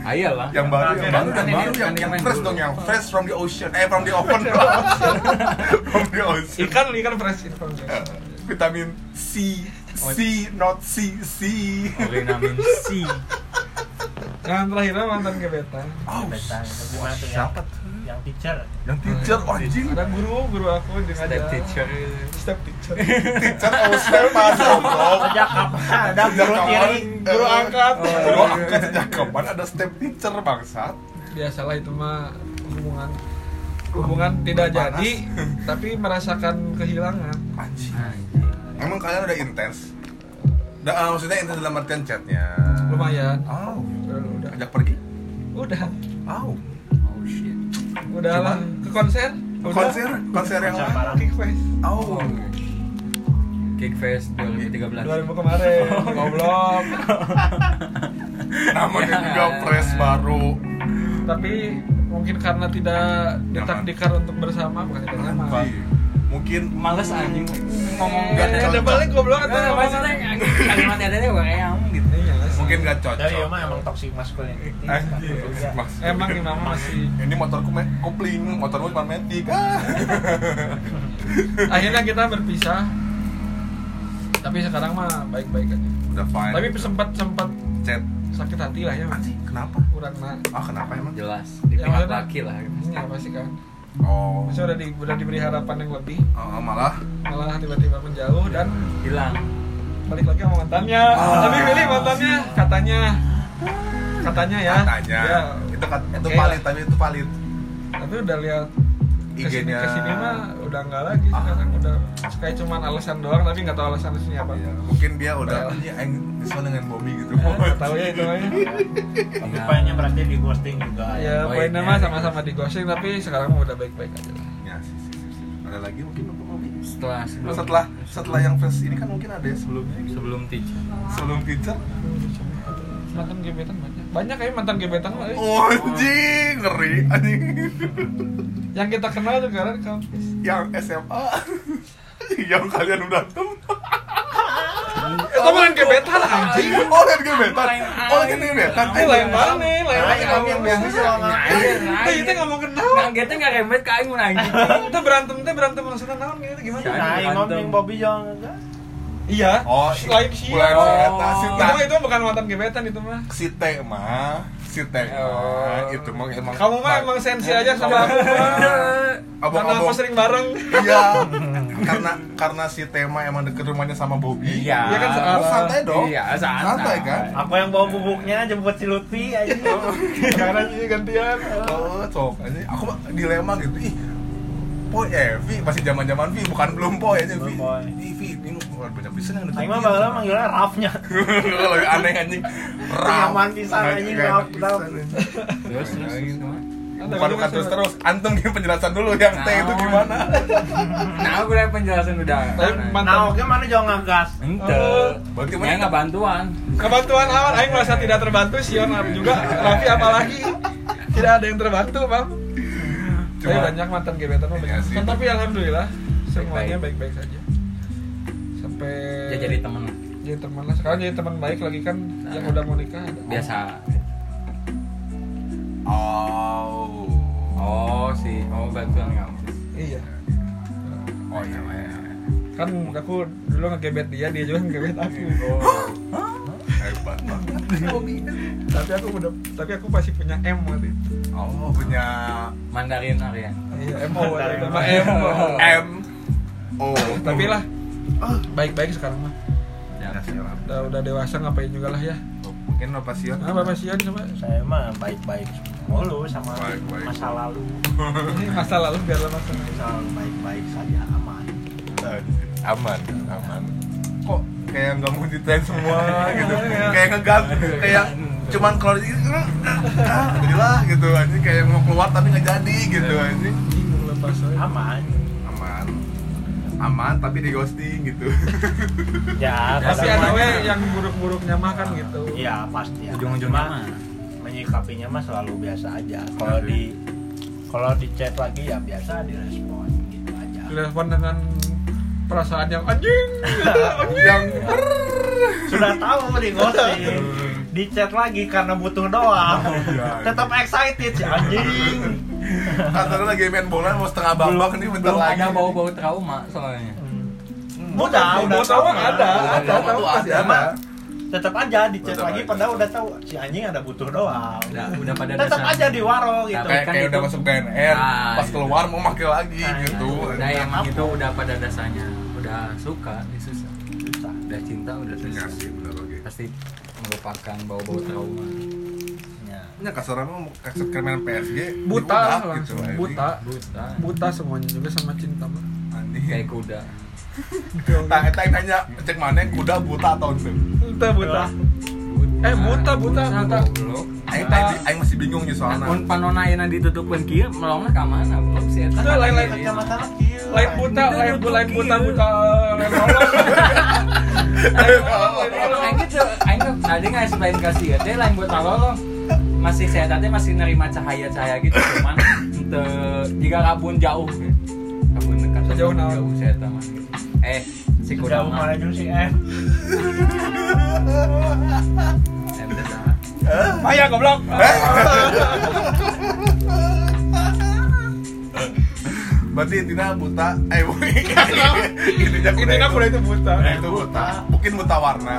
Speaker 1: Ayo lah.
Speaker 2: yang baru yang baru yang
Speaker 1: Kan ini-
Speaker 2: baru yang
Speaker 1: kan ini
Speaker 2: yang
Speaker 1: main
Speaker 2: fresh
Speaker 1: dulu.
Speaker 2: dong yang fresh from the ocean eh from the oven from the ocean
Speaker 4: Ikan ikan fresh ikan
Speaker 2: Oh.
Speaker 4: fresh.
Speaker 2: vitamin C C
Speaker 3: Oh,
Speaker 2: not C C
Speaker 1: Orinamin C.
Speaker 4: Yang terakhir mah mantan gebetan.
Speaker 2: Oh,
Speaker 3: Gebetan, itu gimana tuh ya? Oh,
Speaker 2: siapa tuh?
Speaker 3: yang teacher
Speaker 2: Yang teacher, anjing
Speaker 4: Ada guru guru aku dia
Speaker 1: Step
Speaker 4: ngajar.
Speaker 1: teacher.
Speaker 4: Step teacher.
Speaker 2: Teacher sama step pas goblok
Speaker 3: sejak kapan ada
Speaker 2: Sejak
Speaker 3: guru
Speaker 2: kapan?
Speaker 3: tiri
Speaker 2: Oh,
Speaker 4: Guru angkat.
Speaker 2: iya. Guru angkat sejak kapan ada step teacher bangsat
Speaker 4: biasalah itu mah hubungan hubungan tidak
Speaker 2: Panas.
Speaker 4: jadi tapi merasakan kehilangan
Speaker 2: Anjing.
Speaker 1: Anjing.
Speaker 2: Emang kalian udah intens? Da, ah, maksudnya intens dalam artian chatnya.
Speaker 4: lumayan
Speaker 2: Oh,
Speaker 4: Eh, udah
Speaker 2: ajak pergi.
Speaker 4: udah
Speaker 2: Oh,
Speaker 1: Oh shit.
Speaker 4: udah lah ke konser udah.
Speaker 2: konser, konser yang
Speaker 3: Siapa?
Speaker 2: mana?
Speaker 4: Kick Fest
Speaker 2: Oh,
Speaker 1: Kickfest 2013.
Speaker 4: 2000 kemarin goblok
Speaker 2: namanya juga press baru.
Speaker 4: tapi mungkin karena tidak ditakdirkan untuk bersama bukan tidak nyaman
Speaker 2: Anjing. Iya. Mungkin
Speaker 1: Males anjing ngomong
Speaker 4: Gak
Speaker 2: Nggak
Speaker 4: ada
Speaker 2: cocok.
Speaker 4: balik goblok atau
Speaker 1: Nah, maksudnya kalimat adanya gue kayak gitu.
Speaker 4: Iya, sih.
Speaker 2: mungkin gak
Speaker 3: Dari
Speaker 2: cocok.
Speaker 3: iya, emang emang toxic masculinity.
Speaker 2: Anjing. Maksud-
Speaker 4: Iya, emang gimana masih
Speaker 2: Ini motorku me- kopling, motor gue cuma metik. Ah.
Speaker 4: akhirnya kita berpisah tapi sekarang mah baik-baik aja
Speaker 2: Udah fine.
Speaker 4: tapi sempat sempat
Speaker 2: chat
Speaker 4: sakit hati lah ya Mas.
Speaker 2: anjing kenapa?
Speaker 4: kurang nah
Speaker 2: Ah, kenapa emang?
Speaker 1: Jelas di pihak
Speaker 4: Ya, maksudnya-
Speaker 1: laki lah.
Speaker 4: ini apa sih kan
Speaker 2: Oh.
Speaker 4: Maksudnya udah, di, udah diberi harapan yang lebih
Speaker 2: Ah, malah
Speaker 4: malah tiba-tiba menjauh dan
Speaker 1: Hilang.
Speaker 4: balik lagi sama mantannya
Speaker 2: Ah.
Speaker 4: tapi pilih mantannya katanya katanya ya
Speaker 2: katanya
Speaker 4: Ya.
Speaker 2: itu kat- itu
Speaker 4: Oke Iya.
Speaker 2: valid
Speaker 4: lah.
Speaker 2: tapi itu valid
Speaker 4: tapi udah lihat kesini
Speaker 2: IG-nya
Speaker 4: kesini mah udah nggak lagi
Speaker 2: Ah.
Speaker 4: sekarang udah kayak cuman alasan doang tapi nggak tahu alasan aslinya apa
Speaker 2: Iya, mungkin dia udah
Speaker 4: Baiklah.
Speaker 2: anjing aing kesel dengan Bobby gitu
Speaker 4: Eh, nggak tahu ya itu aja
Speaker 3: Tapi poinnya berarti di ghosting juga.
Speaker 2: Iya.
Speaker 4: ya
Speaker 1: Baiknya.
Speaker 4: poinnya mah sama-sama di ghosting tapi sekarang mah udah baik-baik aja lah
Speaker 2: ya sih, sih, sih, sih. ada lagi mungkin untuk Bobby
Speaker 1: Setelah sebelum
Speaker 2: setelah setelah yang fest ini kan mungkin ada ya sebelumnya
Speaker 4: Iya.
Speaker 2: gitu.
Speaker 1: sebelum teacher.
Speaker 2: sebelum teacher
Speaker 4: mantan gebetan banyak banyak kayak mantan gebetan mah eh.
Speaker 2: oh anjing ngeri anjing
Speaker 4: yang kita kenal juga kan kampus
Speaker 2: yang SMA yang kalian udah temukan
Speaker 4: itu bukan Eh, gebetan anjing
Speaker 2: oh kan gebetan oh kan gebetan
Speaker 4: itu Eh, lain banget nih lain
Speaker 2: Lain,
Speaker 4: lagi
Speaker 2: lain,
Speaker 4: ngomong
Speaker 2: lain,
Speaker 4: bisnis
Speaker 2: lain,
Speaker 4: sama
Speaker 1: lain,
Speaker 4: itu
Speaker 1: lain.
Speaker 4: itu nggak mau kenal
Speaker 1: Ngagetnya nggak remet ke aing mun anjing.
Speaker 4: itu berantem itu berantem maksudnya naon gitu gimana
Speaker 1: Siapa?
Speaker 3: Nah, yang ngomong Bobby Jong.
Speaker 4: iya
Speaker 2: oh
Speaker 4: lain Oh. sih
Speaker 2: bulan
Speaker 4: itu
Speaker 2: Eta, si Ta.
Speaker 4: mah- itu bukan mantan gebetan itu mah
Speaker 2: si teh mah si teh mah
Speaker 1: Oh.
Speaker 2: itu mah emang
Speaker 4: kamu mah emang sensi aja sama aku mah.
Speaker 2: Abang-
Speaker 4: karena aku
Speaker 2: abang.
Speaker 4: sering bareng
Speaker 2: iya karena karena si tema emang deket rumahnya sama Bobby
Speaker 1: Iya.
Speaker 4: Iya kan,
Speaker 2: Lu
Speaker 4: soal-
Speaker 2: oh, santai dong
Speaker 1: Iya, santai.
Speaker 2: santai kan
Speaker 3: Aku yang bawa bubuknya jemput si Lutfi aja.
Speaker 4: sekarang sih gantian
Speaker 2: oh cok ini aku mah dilema gitu ih Poy, eh, Vi, masih zaman zaman Vi, bukan belum Poy aja Vi.
Speaker 3: Belum, Poy.
Speaker 2: Ih, Vi, ini luar banyak pisan yang
Speaker 3: Aing mah bakal manggilnya Rafnya.
Speaker 2: Lebih aneh anjing. kan. Ram.
Speaker 3: Nyaman pisan, anjing, Ram, Ram.
Speaker 1: Terus terus terus, kemana?
Speaker 2: Bukan bukan terus terus. Antum gini penjelasan dulu yang teh itu gimana?
Speaker 1: Nah, aku udah penjelasan udah.
Speaker 4: Tapi man-
Speaker 3: Nah, oke mana Jong ngegas.
Speaker 1: Ente.
Speaker 2: Berarti
Speaker 1: Nya
Speaker 2: mana?
Speaker 1: nggak bantuan.
Speaker 4: kebantuan awan Aing merasa tidak terbantu Sion juga Raffi apalagi tidak ada yang terbantu bang Tapi
Speaker 2: Cuma-
Speaker 4: banyak mantan gebetan mah
Speaker 2: Iya
Speaker 4: banyak.
Speaker 2: sih.
Speaker 4: tapi alhamdulillah semuanya
Speaker 1: Baik-baik.
Speaker 4: baik-baik saja sampai
Speaker 1: Ya jadi temen
Speaker 4: jadi teman lah sekarang jadi teman baik lagi kan
Speaker 1: Nah.
Speaker 4: yang udah mau nikah ada.
Speaker 1: biasa.
Speaker 2: Oh.
Speaker 1: Oh si oh bantuan kampus.
Speaker 4: iya
Speaker 2: Oh iya. iya.
Speaker 4: kan aku dulu ngegebet dia dia juga ngegebet aku
Speaker 2: Oh. Hebat banget.
Speaker 4: tapi aku udah tapi aku masih punya M waktu itu
Speaker 2: Oh punya
Speaker 1: Mandarin Arya.
Speaker 4: iya M O
Speaker 3: Mandarin.
Speaker 4: sama M
Speaker 2: M O.
Speaker 4: tapi lah baik-baik sekarang mah
Speaker 2: Ya, siap.
Speaker 4: udah, udah dewasa ngapain juga lah ya
Speaker 2: Mungkin apa sih?
Speaker 4: nah bapak Sion coba
Speaker 3: Saya mah baik-baik mulu sama
Speaker 2: Baik-baik.
Speaker 3: masa lalu.
Speaker 4: ini masa lalu biar lemas tenang.
Speaker 3: Masa lalu baik-baik saja aman.
Speaker 2: aman aman kok kayak nggak mau ditanya semua gitu
Speaker 4: Iya.
Speaker 2: kayak ngegas kayak cuman keluar dikit, "Ah, ah, jadilah gitu aja kayak mau keluar tapi nggak jadi gitu
Speaker 1: Iya.
Speaker 2: aja
Speaker 4: bingung lepas aja.
Speaker 3: Aman.
Speaker 2: aman aman tapi di ghosting gitu
Speaker 3: Ya,
Speaker 4: tapi
Speaker 3: kadang
Speaker 4: ada
Speaker 3: mah-
Speaker 4: we yang buruk-buruknya mah kan gitu
Speaker 3: Iya, pasti. ya.
Speaker 1: Ujung-ujungnya
Speaker 3: Cuma
Speaker 1: mah.
Speaker 3: menyikapinya mah selalu biasa aja. Kalau
Speaker 2: Oke.
Speaker 3: di kalau di chat lagi ya biasa direspon gitu aja.
Speaker 4: direspon dengan perasaan yang anjing
Speaker 2: yang
Speaker 3: Sudah tahu di ghosting. Di chat lagi karena butuh doang.
Speaker 4: Oh,
Speaker 2: Iya.
Speaker 3: Tetap excited si anjing.
Speaker 2: katanya lagi main bola mau setengah babak nih bentar
Speaker 1: Belum
Speaker 2: lagi Hmm.
Speaker 1: ada bau-bau trauma soalnya.
Speaker 3: Mudah, udah
Speaker 4: Mau tahu
Speaker 3: sama.
Speaker 4: ada, ada,
Speaker 2: Trauma
Speaker 4: tahu
Speaker 2: tuh
Speaker 4: pasti
Speaker 2: ada.
Speaker 4: ada.
Speaker 3: tetap aja di chat
Speaker 2: Tetap
Speaker 3: lagi
Speaker 2: aja.
Speaker 3: padahal udah tahu si anjing ada butuh doang
Speaker 1: Udah udah pada
Speaker 3: tetap aja di waro gitu
Speaker 1: Tapi
Speaker 2: kayak
Speaker 1: kan
Speaker 2: kayak
Speaker 1: itu-
Speaker 2: udah masuk BNR
Speaker 1: Ah,
Speaker 2: pas
Speaker 1: gitu.
Speaker 2: keluar mau pakai lagi
Speaker 3: Ah,
Speaker 2: gitu
Speaker 1: Udah emang
Speaker 3: Apa?
Speaker 1: itu udah pada dasarnya udah suka, ya susah.
Speaker 3: Susah.
Speaker 1: Udah cinta udah
Speaker 2: Iya
Speaker 1: susah.
Speaker 2: sih, bener lagi.
Speaker 1: Pasti merupakan bau-bau trauma.
Speaker 3: Ya.
Speaker 2: nya kasarnya mau kasut keremen PSG
Speaker 4: buta
Speaker 2: diudak gitu,
Speaker 4: langsung
Speaker 2: anjing.
Speaker 4: buta
Speaker 1: Ah, buta
Speaker 4: buta semuanya juga sama cinta mah
Speaker 2: anjing
Speaker 1: kayak kuda
Speaker 4: Eh,
Speaker 2: tak tak tanya cek mana kuda buta atau enggak
Speaker 4: buta buta Eh, buta, buta, buta.
Speaker 1: Nah, goblok.
Speaker 2: aing tadi aing masih bingung nih
Speaker 1: Nah,
Speaker 2: soalnya
Speaker 1: mun panonaina ditutupkeun kieu melongna ka mana? Belum sih eta. kan gitu.
Speaker 4: Tuh, lain-lain.
Speaker 3: kacamata lah kieu
Speaker 4: lain buta
Speaker 1: Itu
Speaker 4: lain
Speaker 1: tuh
Speaker 4: buta lain buta
Speaker 1: gila.
Speaker 4: buta lain polos. Lain polos, lain
Speaker 1: Emang
Speaker 4: polos.
Speaker 1: aing gitu, aing tuh tadi nggak sebain kasih ya, teh lain buat lo masih saya tadi masih nerima cahaya cahaya gitu cuman ente jika kabun jauh ya. kabun dekat
Speaker 4: Sejauh naon?
Speaker 1: jauh saya tadi masih gitu. eh si kuda
Speaker 3: Jauh
Speaker 1: mah
Speaker 3: malah jeung si M
Speaker 1: Eh, bener dah.
Speaker 4: Eh? Maya goblok.
Speaker 1: Eh?
Speaker 2: berarti intinya buta eh bu- intinya kuda
Speaker 4: Intinya kuda itu kan buta.
Speaker 2: kuda itu buta mungkin buta warna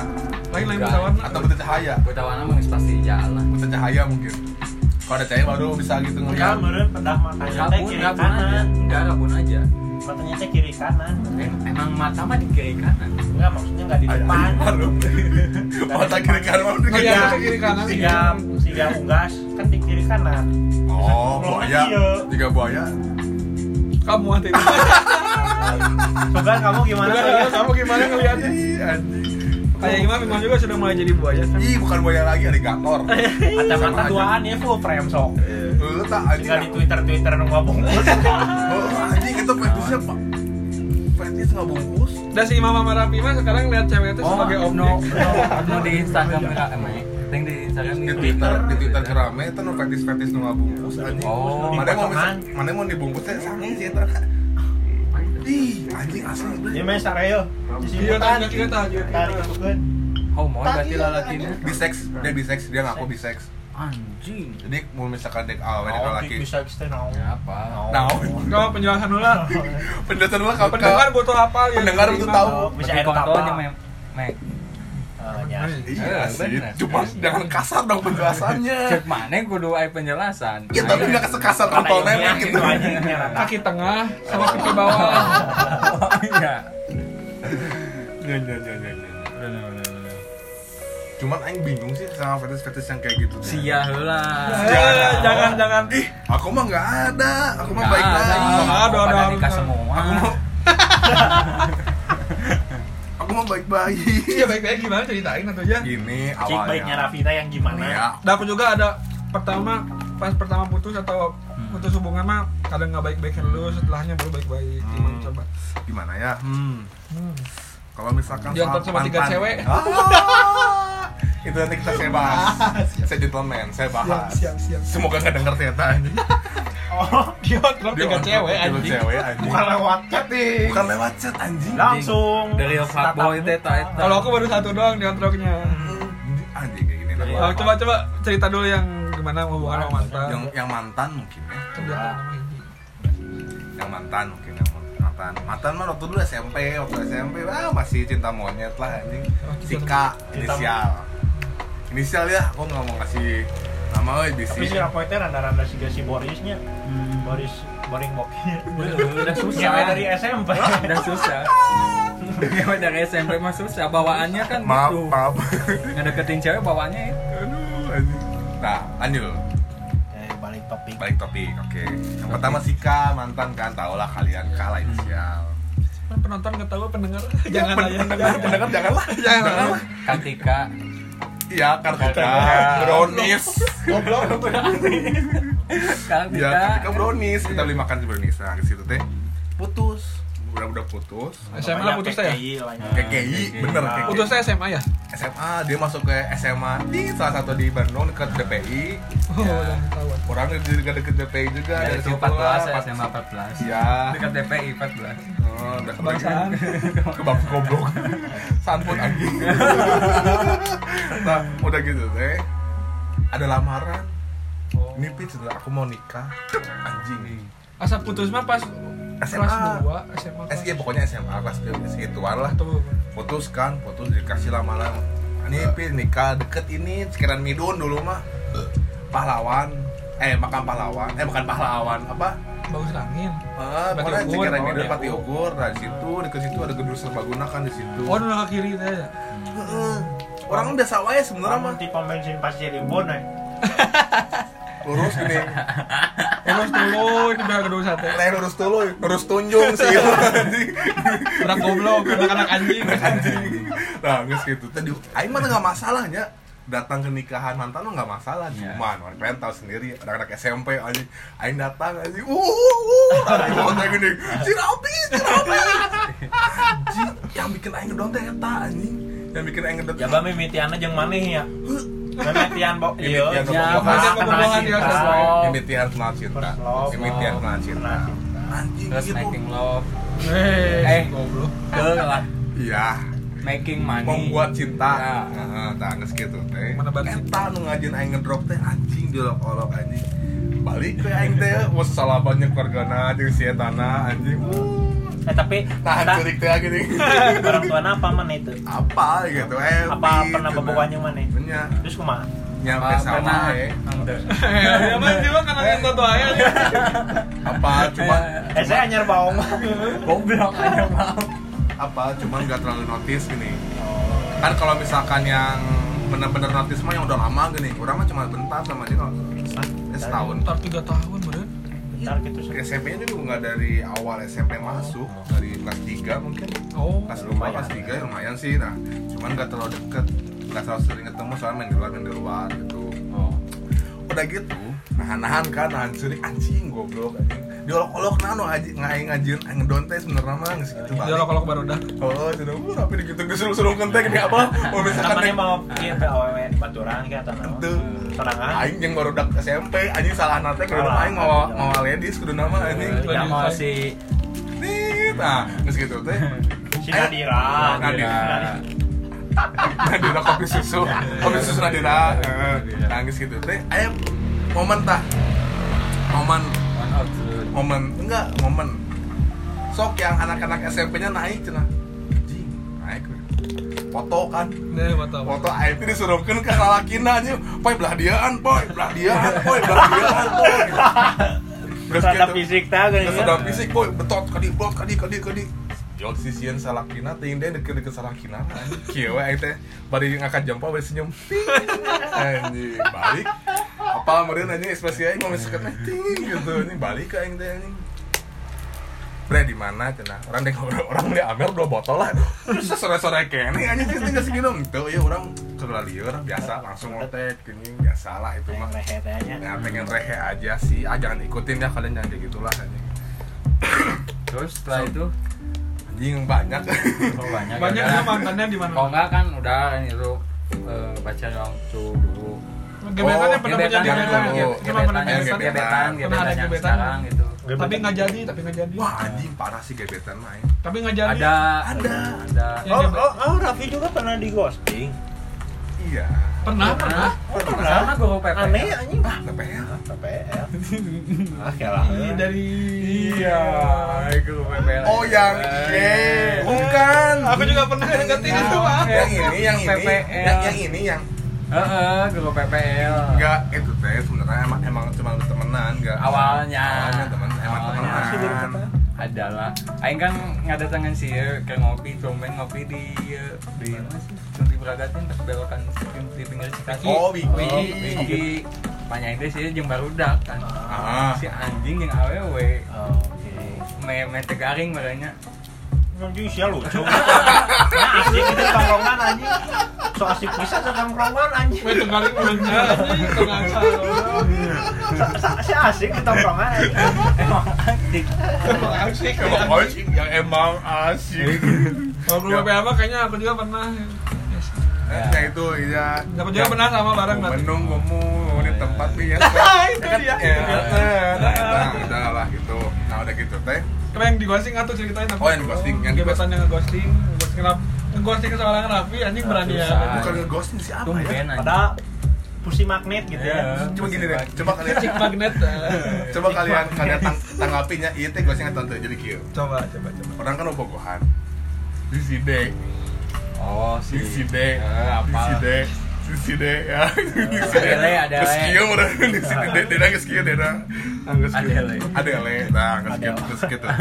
Speaker 4: Lain lain buta warna.
Speaker 2: atau buta cahaya
Speaker 1: Buat awana mah geus pasti jalan
Speaker 2: buta cahaya mungkin kalau ada cahaya baru bisa gitu
Speaker 4: Oh,
Speaker 3: Kan
Speaker 4: iya.
Speaker 2: ngeliat
Speaker 3: meureun pedah matanya teh
Speaker 1: kabun
Speaker 3: kiri
Speaker 1: kabun aja
Speaker 3: kanan
Speaker 1: enggak kabun aja
Speaker 3: Matanya teh kiri kanan
Speaker 1: Em- emang mata mah di kiri kanan
Speaker 3: Enggak maksudnya enggak di depan
Speaker 2: baru mata kiri kanan mata kiri
Speaker 4: Iya,
Speaker 3: Tiga-
Speaker 4: ke kiri kanan.
Speaker 3: Tiga tiga unggas kan di kiri kanan
Speaker 2: oh buaya
Speaker 4: Iya.
Speaker 2: jika buaya
Speaker 4: Kamu hati.
Speaker 3: Coba kamu gimana
Speaker 4: Gimana
Speaker 3: Sogan?
Speaker 4: kamu gimana ngelihatnya?
Speaker 2: Ih, anjing.
Speaker 4: Kayak Imam Imam juga sudah mulai jadi buaya. kan?
Speaker 2: Ih, bukan buaya lagi alligator.
Speaker 4: Iya.
Speaker 2: Sama
Speaker 3: Kacamata
Speaker 2: aja.
Speaker 3: duaan ya full frame sok
Speaker 2: Eh, tak anjing.
Speaker 3: Tinggal di Twitter-Twitter nu ngabungkus
Speaker 2: Oh, anjing itu fetisnya, Pak. Fetis nggak bungkus.
Speaker 4: Dan si Imam sama Raffi mah sekarang lihat cewek
Speaker 2: Oh,
Speaker 4: itu sebagai
Speaker 1: Oh, no,
Speaker 4: objek.
Speaker 1: no, no, di Instagram mereka emang penting di Instagram
Speaker 2: Di Twitter, di Twitter kerame itu nu fetis-fetis nu nggak bungkus anjing.
Speaker 1: Oh.
Speaker 2: mana yang mau mis- mana yang mau dibungkusnya sange sih itu. Ih, anjing asli.
Speaker 3: Ini mah sareo
Speaker 4: Iya,
Speaker 3: Disimutan
Speaker 4: tanya kita tanya.
Speaker 3: Tarik kebukeun.
Speaker 1: homo Oh, berarti lalakinya
Speaker 2: Bisex, dia bisex, dia ngaku bisex.
Speaker 1: anjing
Speaker 2: Jadi mau misalkan dek awal dek
Speaker 3: Naon
Speaker 2: laki.
Speaker 3: Oh, bisa kita naon
Speaker 1: ya apa
Speaker 2: Nah,
Speaker 4: Kau penjelasan ulang.
Speaker 2: pendengar lu kalau
Speaker 4: Pendengar butuh apa? ya?
Speaker 2: Pendengar
Speaker 4: Imam.
Speaker 2: butuh tahu.
Speaker 3: Oh, Bisa
Speaker 1: Berarti
Speaker 3: air
Speaker 1: kontol
Speaker 3: tapa.
Speaker 1: aja, Mek. Mek.
Speaker 3: Eh, nya.
Speaker 2: Iya sih,
Speaker 1: Bener.
Speaker 2: cuma jangan kasar dong penjelasannya.
Speaker 1: cek mana kudu aya penjelasan
Speaker 2: Ya tapi nggak kesekasar kontol nenek gitu.
Speaker 3: Itu aja yang nyerang.
Speaker 4: Kaki tengah sama kaki bawah.
Speaker 1: iya
Speaker 2: Ya, ya, ya, ya, ya. Cuman Aing bingung sih sama fetis-fetis yang kayak gitu
Speaker 1: sia heula
Speaker 4: Eh, Jangan jangan.
Speaker 2: Ih, aku mah nggak ada Aku mah Nah,
Speaker 1: Nah,
Speaker 2: baik
Speaker 4: ada.
Speaker 2: baik
Speaker 4: Aduh, aduh,
Speaker 1: pada
Speaker 4: aduh.
Speaker 1: nikah semua
Speaker 2: Aku mau Aku mah baik
Speaker 4: Iya
Speaker 2: baik
Speaker 4: baik-baik gimana ceritain atau aja.
Speaker 2: Gini
Speaker 3: Cik baiknya nah.
Speaker 2: awalnya
Speaker 3: Rafita yang gimana?
Speaker 2: Ya,
Speaker 4: Dan Nah, aku juga ada pertama pas pertama putus atau
Speaker 2: Hmm.
Speaker 4: putus hubungan mah kadang nggak baik-baik dulu setelahnya baru baik-baik
Speaker 2: Hmm.
Speaker 4: Gimana coba
Speaker 2: gimana ya? Hmm.
Speaker 4: hmm.
Speaker 2: Kalau misalkan
Speaker 4: Diantar sama tiga
Speaker 2: mantan-
Speaker 4: cewek. Ah,
Speaker 2: Ah, itu nanti kita saya bahas. saya gentleman, saya
Speaker 4: siap
Speaker 2: bahas.
Speaker 4: siap siap
Speaker 2: Semoga nggak denger ternyata anjing.
Speaker 3: Oh,
Speaker 4: dia ontrap
Speaker 2: Dia
Speaker 4: tiga
Speaker 2: orang-
Speaker 4: cewek
Speaker 2: dia
Speaker 4: anjing
Speaker 2: Cewek anjing.
Speaker 3: bukan lewat chat nih.
Speaker 2: Bukan lewat chat anjing.
Speaker 3: Langsung.
Speaker 1: dari real fuckboy
Speaker 3: tatap
Speaker 1: teh
Speaker 3: muka.
Speaker 1: ta eta.
Speaker 4: kalau aku baru satu doang di ontropnya
Speaker 2: Anjing kayak gini.
Speaker 4: Oh,
Speaker 2: lah.
Speaker 4: coba coba cerita dulu yang gimana hubungan sama mantan
Speaker 2: yang yang mantan mungkin ya
Speaker 4: Kebetulan sama ini.
Speaker 2: yang mantan mungkin yang mantan mantan mah waktu dulu SMP waktu SMP ah masih cinta monyet lah anjing Sika
Speaker 3: Cinta-
Speaker 2: inisial inisial ya aku nggak mau kasih nama eh, euy bisi
Speaker 3: Tapi si Rapoy teh randa-randa siga si Borisnya. Boris boring bokeh.
Speaker 1: udah susah
Speaker 3: Nyewe dari SMP.
Speaker 1: kan? udah susah Nyewe Iya, dari SMP mah susah bawaannya kan
Speaker 2: maaf
Speaker 1: gitu
Speaker 2: maaf
Speaker 1: ngedeketin cewek bawaannya itu
Speaker 2: aduh anjing nah lanjut
Speaker 3: Eh, balik topik.
Speaker 2: balik topik oke yang pertama Sika mantan kan tau lah kalian kalah inisial
Speaker 4: Kan penonton nggak tahu pendengar jangan lah,
Speaker 2: pendengar
Speaker 4: jangan.
Speaker 2: pendengar janganlah
Speaker 1: Nah,
Speaker 4: Jangan.
Speaker 2: janganlah
Speaker 1: kan ketika
Speaker 2: iya kartika brownies goblok
Speaker 1: sekarang
Speaker 2: Ya, ketika
Speaker 1: kita
Speaker 2: brownies, kita beli makan di brownies. Nah, di situ teh putus. Udah udah putus.
Speaker 4: SMA
Speaker 3: Banyak
Speaker 4: putus saya
Speaker 3: KKI lah, nya.
Speaker 2: KKI, bener KKI.
Speaker 4: putus saya SMA ya
Speaker 2: SMA, dia masuk ke SMA di salah satu di Bandung dekat DPI.
Speaker 4: oh udah ketahuan
Speaker 2: Orang di dekat dekat DPI juga
Speaker 1: dari Ya,
Speaker 2: dari
Speaker 1: itu
Speaker 2: situ
Speaker 1: 14 saya
Speaker 2: lah,
Speaker 1: SMA 14
Speaker 2: Iya.
Speaker 1: dekat TPI 14
Speaker 2: Oh, udah
Speaker 4: kebangsaan
Speaker 2: kebab goblok sampun anjing nah udah gitu teh ada lamaran nipit sudah aku mau nikah anjing
Speaker 4: asal putus mah pas kelas
Speaker 2: SMA.
Speaker 4: 2 SMA kelas
Speaker 2: SG pokoknya SMA kelas segituan lah
Speaker 4: atau
Speaker 2: putus kan putus dikasih lamaran ini pin nikah deket ini sekiran midun dulu mah pahlawan eh makam pahlawan eh bukan pahlawan apa
Speaker 4: bagus angin
Speaker 2: Eh, pokoknya
Speaker 4: Pati Ugur,
Speaker 2: sekiran
Speaker 4: oh,
Speaker 2: midun
Speaker 4: ya.
Speaker 2: pati ukur nah di situ deket situ ada gedung serbaguna kan di situ
Speaker 4: oh nolak kiri teh ya
Speaker 2: Heeh. orang biasa wae sebenarnya mah
Speaker 3: Orang di pom bensin pas jadi bon, eh.
Speaker 2: lurus gini
Speaker 4: Terus dulu, ini udah gedung sate.
Speaker 2: leh lurus dulu lurus tunjung sih
Speaker 4: Udah goblok, anak-anak anjing.
Speaker 2: anjing nah nggak gitu tadi aing mah nggak masalahnya datang ke nikahan mantan lo nggak masalah
Speaker 1: Iya.
Speaker 2: cuman orang pengen tahu sendiri anak-anak SMP anjing aing datang anjing uh uh uh aing mau kayak gini cirapi cirapi anjing yang bikin aing ngedot teh eta anjing yang bikin aing ngedot
Speaker 3: Ya ba mimitianna jeung maneh ya. Mimitian bo
Speaker 2: Mimitian
Speaker 3: ieu.
Speaker 2: bobogohan.
Speaker 3: Ya, mah,
Speaker 4: Bobogohan,
Speaker 3: kenal
Speaker 4: ya,
Speaker 3: cinta.
Speaker 4: sesuai.
Speaker 2: imitian kenal cinta
Speaker 3: First love,
Speaker 2: imitian
Speaker 1: love.
Speaker 2: kenal cinta
Speaker 3: Kenal
Speaker 2: anjing
Speaker 1: terus
Speaker 2: gitu
Speaker 1: making love Eh.
Speaker 4: Eh, goblok.
Speaker 1: ke lah
Speaker 2: iya
Speaker 1: making money
Speaker 2: membuat cinta
Speaker 1: Ya.
Speaker 2: heeh tah geus kitu teh
Speaker 4: Menebar
Speaker 2: eta nu ngajin aing ngedrop teh anjing diolok-olok anjing balik ke aing teh wah salah banyak keluargana jeung si eta na anjing Wuh.
Speaker 3: Eh tapi
Speaker 2: tahan
Speaker 3: tak-
Speaker 2: curik teh gini
Speaker 3: orang tuana apa mana itu?
Speaker 2: apa gitu eh
Speaker 3: Apa
Speaker 2: gitu,
Speaker 3: pernah
Speaker 2: nah.
Speaker 3: bobogohannya mana?
Speaker 2: Nya,
Speaker 3: Terus kumaha?
Speaker 2: nya
Speaker 1: Apa
Speaker 2: teh sama
Speaker 1: Ah, pernah?
Speaker 2: eh.
Speaker 1: Ente.
Speaker 4: Ya mah dia mah kenal yang tato aja.
Speaker 2: apa cuma
Speaker 3: Eh saya anyar baong.
Speaker 1: goblok aja mau
Speaker 2: apa cuma nggak terlalu notice gini kan kalau misalkan yang bener-bener notice mah yang udah lama gini orang mah cuma bentar sama dia kalau eh, setahun
Speaker 4: Ntar 3 tahun, bener.
Speaker 3: Bentar gitu sih.
Speaker 2: SMP nya juga nggak dari awal SMP masuk dari kelas 3 mungkin
Speaker 4: Oh.
Speaker 2: kelas 2 kelas 3 ya lumayan sih nah cuman nggak terlalu deket nggak terlalu sering ketemu soalnya main di luar main di luar gitu
Speaker 1: oh
Speaker 2: udah gitu nahan nahan kan nahan curi anjing goblok anjing diolok-olok nah, nano aja ngain ngajin ngedonte sebenarnya mah nggak segitu
Speaker 4: Dia lo
Speaker 2: balik
Speaker 4: kalau baru dah.
Speaker 2: oh sudah gue tapi digitu disuruh-suruh kentek ini apa mau misalkan
Speaker 3: Namanya
Speaker 2: naik-
Speaker 3: mau ieu teh awewe baturan ke atau naon?
Speaker 2: Tuh.
Speaker 3: Tenangan.
Speaker 2: Aing yang baru dak SMP, anjing salah nate kudu nama aing mau mau ladies kudu nama anjing.
Speaker 1: ya mau si
Speaker 2: Nih, nah, geus gitu teh.
Speaker 3: Si Eh, Nadira.
Speaker 2: Nadira. Nadira kopi susu, kopi susu Nadira. Eh, Nangis gitu teh. Ayam momen tah. Momen,
Speaker 1: one out to-
Speaker 2: momen enggak, momen. Sok yang anak-anak SMP-nya naik cenah. Jing, naik. we. Foto kan,
Speaker 4: Nih, buat tau.
Speaker 2: foto aing teh disuruhkeun ka lalakina nya. Poy belah diaan, poy belah diaan, poy belah diaan, poy. Terus
Speaker 3: Tanda
Speaker 2: gitu.
Speaker 3: fisik teh gini.
Speaker 2: Terus udah fisik, boy, betot, kadi, bot, kadi, kadi, kadi Jok sisian salakina, ting deh deket-deket salakina Kiewe, ayo teh, bari ngangkat jempol, bari senyum Ting, anjing, balik Apa meren anjing, ekspresi aing, mau misalkan, eh, ting, gitu, anjing, balik ke aing teh, anjing Bre, di mana cenah? Orang dek orang orang beli amer dua botol lah. Terus sore-sore kene anjing sih tinggal segini Tuh ya orang keluar liur biasa langsung ngotek gini biasa lah itu mah.
Speaker 3: Rehet aja.
Speaker 2: Ya pengen rehe aja sih, ah jangan ikutin ya kalian jangan kayak gitulah anjing.
Speaker 1: terus setelah
Speaker 2: So-
Speaker 1: itu
Speaker 2: Anjing banyak.
Speaker 1: oh, banyak
Speaker 4: Banyak
Speaker 1: ya,
Speaker 4: ya
Speaker 1: kan?
Speaker 4: mantannya di
Speaker 1: kalau
Speaker 4: mana?
Speaker 1: enggak kan udah ini tuh eh, pacar yang cu dulu
Speaker 4: Gebetannya pernah
Speaker 2: gebetan
Speaker 4: menjadi
Speaker 2: dulu.
Speaker 4: gebetan. ya? Cuma pernah
Speaker 1: gebetan gebetan
Speaker 2: gebetan.
Speaker 4: Pernah
Speaker 1: gebetan
Speaker 4: ada
Speaker 1: yang
Speaker 4: gebetan.
Speaker 1: sekarang gitu
Speaker 4: Tapi nggak jadi, tapi nggak jadi.
Speaker 2: Wah anjing parah sih gebetan main.
Speaker 4: Tapi nggak jadi.
Speaker 1: ada
Speaker 2: Ada.
Speaker 1: ada
Speaker 4: Ya,
Speaker 3: Oh,
Speaker 4: dia-
Speaker 3: oh, oh, Raffi juga pernah di ghosting.
Speaker 2: Iya.
Speaker 4: Pernah, pernah.
Speaker 1: sama guru PP
Speaker 3: Aneh anjing.
Speaker 2: Ah, tapi ya.
Speaker 3: PPL. Ah, kalah.
Speaker 4: Ini dari
Speaker 1: Iya. guru PP
Speaker 2: Oh yang ye. Bukan.
Speaker 4: Eh. Aku juga pernah deketin itu, Bang.
Speaker 2: Yang ini, yang ini,
Speaker 1: PPL.
Speaker 2: yang, yang ini, yang
Speaker 1: Heeh, Eh, guru PPL
Speaker 2: enggak itu teh sebenarnya emang emang cuma temenan enggak
Speaker 1: Awalnya.
Speaker 2: awalnya temen emang
Speaker 1: Awalnya. Masih
Speaker 3: baru kata.
Speaker 2: temenan
Speaker 1: adalah aing kan ngadatangan sih ya, ke ngopi tumben ngopi di eh, di mana sih di beragatin pas belokan di pinggir Cikaki
Speaker 2: Oh, Wiki.
Speaker 1: Wiki. Wiki. Panjang itu sih jeung barudak kan
Speaker 2: ah
Speaker 1: si anjing yang awewe
Speaker 3: Oh, Oke.
Speaker 1: me me teu garing merenya
Speaker 3: Anjing sia lucu. Nah, asik itu tongkrongan anjing. So asik bisa tuh tongkrongan anjing.
Speaker 4: Weh, tenggaling belanja. Ini tengaca.
Speaker 3: Sa- sa- Si asik di tongkrongan anjing.
Speaker 1: emang anjing
Speaker 4: Emang asik,
Speaker 2: Emang
Speaker 4: emang asik.
Speaker 2: anjing, yang Ya, emang asik
Speaker 4: Kalau belum apa apa kayaknya aku juga pernah.
Speaker 2: ya itu ya
Speaker 4: Aku Iya. juga pernah sama bareng Oh, iya.
Speaker 2: Ku
Speaker 4: Nat.
Speaker 2: menunggumu di tempat iya, biasa
Speaker 4: itu
Speaker 3: Iya.
Speaker 4: dia.
Speaker 2: Ya, eh, nah, nah, udah lah gitu nah udah gitu teh
Speaker 4: Keren yang digosting atau ceritain apa?
Speaker 2: Oh, yang ghosting, yang
Speaker 4: gebetan yang ngeghosting, ghosting kenapa? Ngeghosting seorang Raffi anjing berani ya.
Speaker 1: Susah.
Speaker 2: bukan ghosting siapa ya
Speaker 1: tumben anjing
Speaker 3: Ada pusi magnet gitu ya.
Speaker 2: cuma gini deh coba kalian
Speaker 4: ya. Cik magnet. eh.
Speaker 2: coba kalian kalian tang tanggapinya iya teh ghosting atau tidak jadi kieu
Speaker 4: Coba, coba, coba.
Speaker 2: orang kan obogohan di side
Speaker 1: oh si
Speaker 2: di side
Speaker 1: Eh,
Speaker 2: di
Speaker 1: apa
Speaker 2: side di side ya di
Speaker 1: Adele, Adele.
Speaker 2: Geus kieu meureun, di side deh deh geus kieu deh dah Geus kieu.
Speaker 1: Adele.
Speaker 2: Adele, nah geus kieu geus kieu teh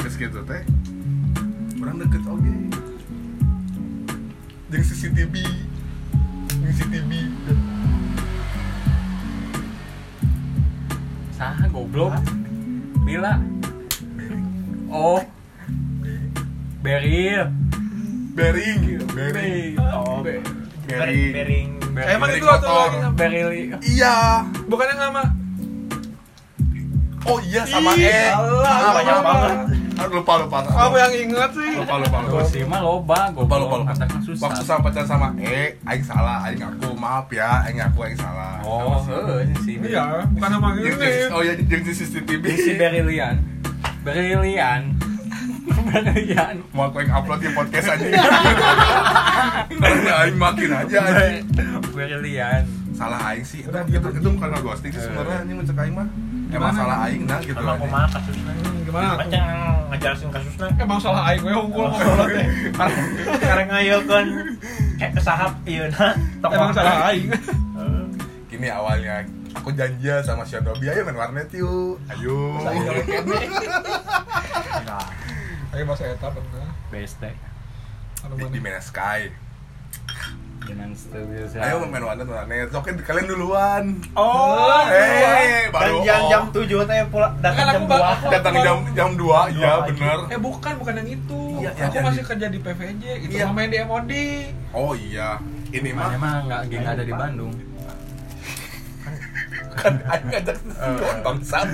Speaker 2: geus kieu teh orang deket oge jeung CCTV jeung CCTV
Speaker 1: Saha goblok. Bila. Oh. Beril.
Speaker 2: Bering, bering,
Speaker 1: Oh, be-
Speaker 2: bering,
Speaker 3: Bering.
Speaker 1: beril.
Speaker 4: Emang
Speaker 2: Bering
Speaker 4: itu waktu
Speaker 2: kotor.
Speaker 4: lagi
Speaker 1: Beril.
Speaker 2: Iya.
Speaker 4: bukannya sama
Speaker 2: Oh iya sama
Speaker 4: Ih,
Speaker 2: E.
Speaker 4: salah,
Speaker 2: Ah,
Speaker 3: banyak
Speaker 2: lupa.
Speaker 3: banget.
Speaker 2: Ah, Lupa lupa.
Speaker 4: kamu yang inget sih.
Speaker 2: lupa lupa lupa.
Speaker 1: Gua sih mah loba,
Speaker 2: Lupa lupa
Speaker 1: goblok.
Speaker 2: lupa.
Speaker 1: Katakan susah.
Speaker 2: Waktu sama pacar sama E, aing salah, aing ngaku maaf ya, aing ngaku aing salah.
Speaker 1: Oh,
Speaker 2: Sama
Speaker 1: heuh sih.
Speaker 4: Iya, bukan sama
Speaker 2: si-
Speaker 4: ini.
Speaker 2: jeung- jeung- Oh iya, jeung si CCTV.
Speaker 1: Si Berilian. Berilian. Berilian.
Speaker 2: Mau aku aing upload di podcast aja.
Speaker 4: Iya,
Speaker 2: Nanti aing makin aja aja.
Speaker 1: Berilian.
Speaker 2: Salah aing sih. Itu
Speaker 4: Udah,
Speaker 2: itu
Speaker 4: diem.
Speaker 2: itu bukan ghosting sih sebenarnya anjing mencek aing mah. Emang
Speaker 4: Gimana?
Speaker 2: salah aing nah gitu.
Speaker 3: Emang
Speaker 2: aja.
Speaker 3: kumaha kasusnya?
Speaker 4: Hmm, Gimana?
Speaker 3: Macam ngejelasin kasusnya.
Speaker 4: Emang salah aing gue hukum goblok teh.
Speaker 3: Karena ngayokeun kayak iya, nah, kesahap ieu na. tokoh.
Speaker 4: Emang
Speaker 3: Eh,
Speaker 4: salah aing.
Speaker 3: Heeh.
Speaker 2: Gini awalnya aku janjian sama Shandobi ayo main warnet yuk. Ayo.
Speaker 4: Saya joget
Speaker 3: Nah,
Speaker 4: Ayo bahasa eta pernah.
Speaker 1: Beste.
Speaker 4: Anu
Speaker 2: Di, di Mena
Speaker 4: mana?
Speaker 2: Sky.
Speaker 1: Dengan studio saya.
Speaker 2: Ayo main warnet warnet. Oke kalian duluan.
Speaker 4: Oh,
Speaker 2: eh baru
Speaker 3: janjian
Speaker 2: oh.
Speaker 3: jam 7 teh pulang datang
Speaker 4: Kan aku
Speaker 3: jam
Speaker 4: bak-
Speaker 3: 2.
Speaker 4: aku-
Speaker 2: datang jam jam 2 iya
Speaker 3: Dua
Speaker 2: bener
Speaker 4: Eh bukan, bukan yang itu.
Speaker 2: Iya,
Speaker 4: aku
Speaker 2: iya,
Speaker 4: masih
Speaker 2: iya.
Speaker 4: kerja di PVJ gitu.
Speaker 2: Iya.
Speaker 4: Sama main di MOD.
Speaker 2: oh iya ini
Speaker 1: Emang
Speaker 2: mah
Speaker 1: emang nggak geng ada di Bandung.
Speaker 2: kan aing ngajak sesuatu bangsat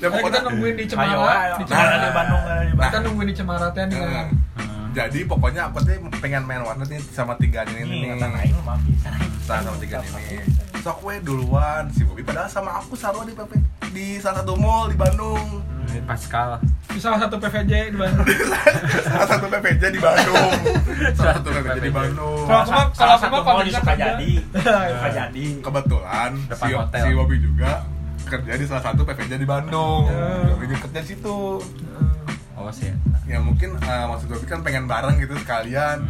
Speaker 2: ya
Speaker 4: Eh, kita
Speaker 2: pokoknya
Speaker 4: nungguin di
Speaker 3: Ayo, ayo.
Speaker 4: Cemara, di
Speaker 3: Nah, di
Speaker 4: Cemara.
Speaker 3: Bandung ada di
Speaker 4: Kita
Speaker 3: Bandung.
Speaker 4: nungguin di Cemara teh nih.
Speaker 2: eh,
Speaker 1: Hmm,
Speaker 2: jadi pokoknya aku tuh pengen main warnet nih sama tiga
Speaker 1: Iya,
Speaker 2: ini
Speaker 3: Ini
Speaker 2: nih
Speaker 3: kata aing mah maaf pisan.
Speaker 2: Sa- sama tiga ini sok we duluan si Bobi padahal sama aku sarwa di PP di salah satu mall di Bandung
Speaker 1: Ini Pascal.
Speaker 4: Di salah satu PVJ di Bandung. Eh,
Speaker 2: salah satu PPJ di Bandung salah satu PPJ di Bandung
Speaker 4: Kalau aku mah kalau
Speaker 3: Salah
Speaker 4: aku
Speaker 3: satu
Speaker 4: mah
Speaker 3: mall di
Speaker 4: konteksnya
Speaker 3: Sukajadi.
Speaker 4: kerja.
Speaker 3: Sukajadi.
Speaker 2: kebetulan
Speaker 1: Depan
Speaker 2: si,
Speaker 1: hotel.
Speaker 2: si Bobi juga kerja di salah satu PPJ di Bandung
Speaker 1: Iya.
Speaker 4: Ya.
Speaker 2: Bobi juga kerja di situ
Speaker 1: Oh sih.
Speaker 2: ya mungkin eh, maksud gue kan pengen bareng gitu sekalian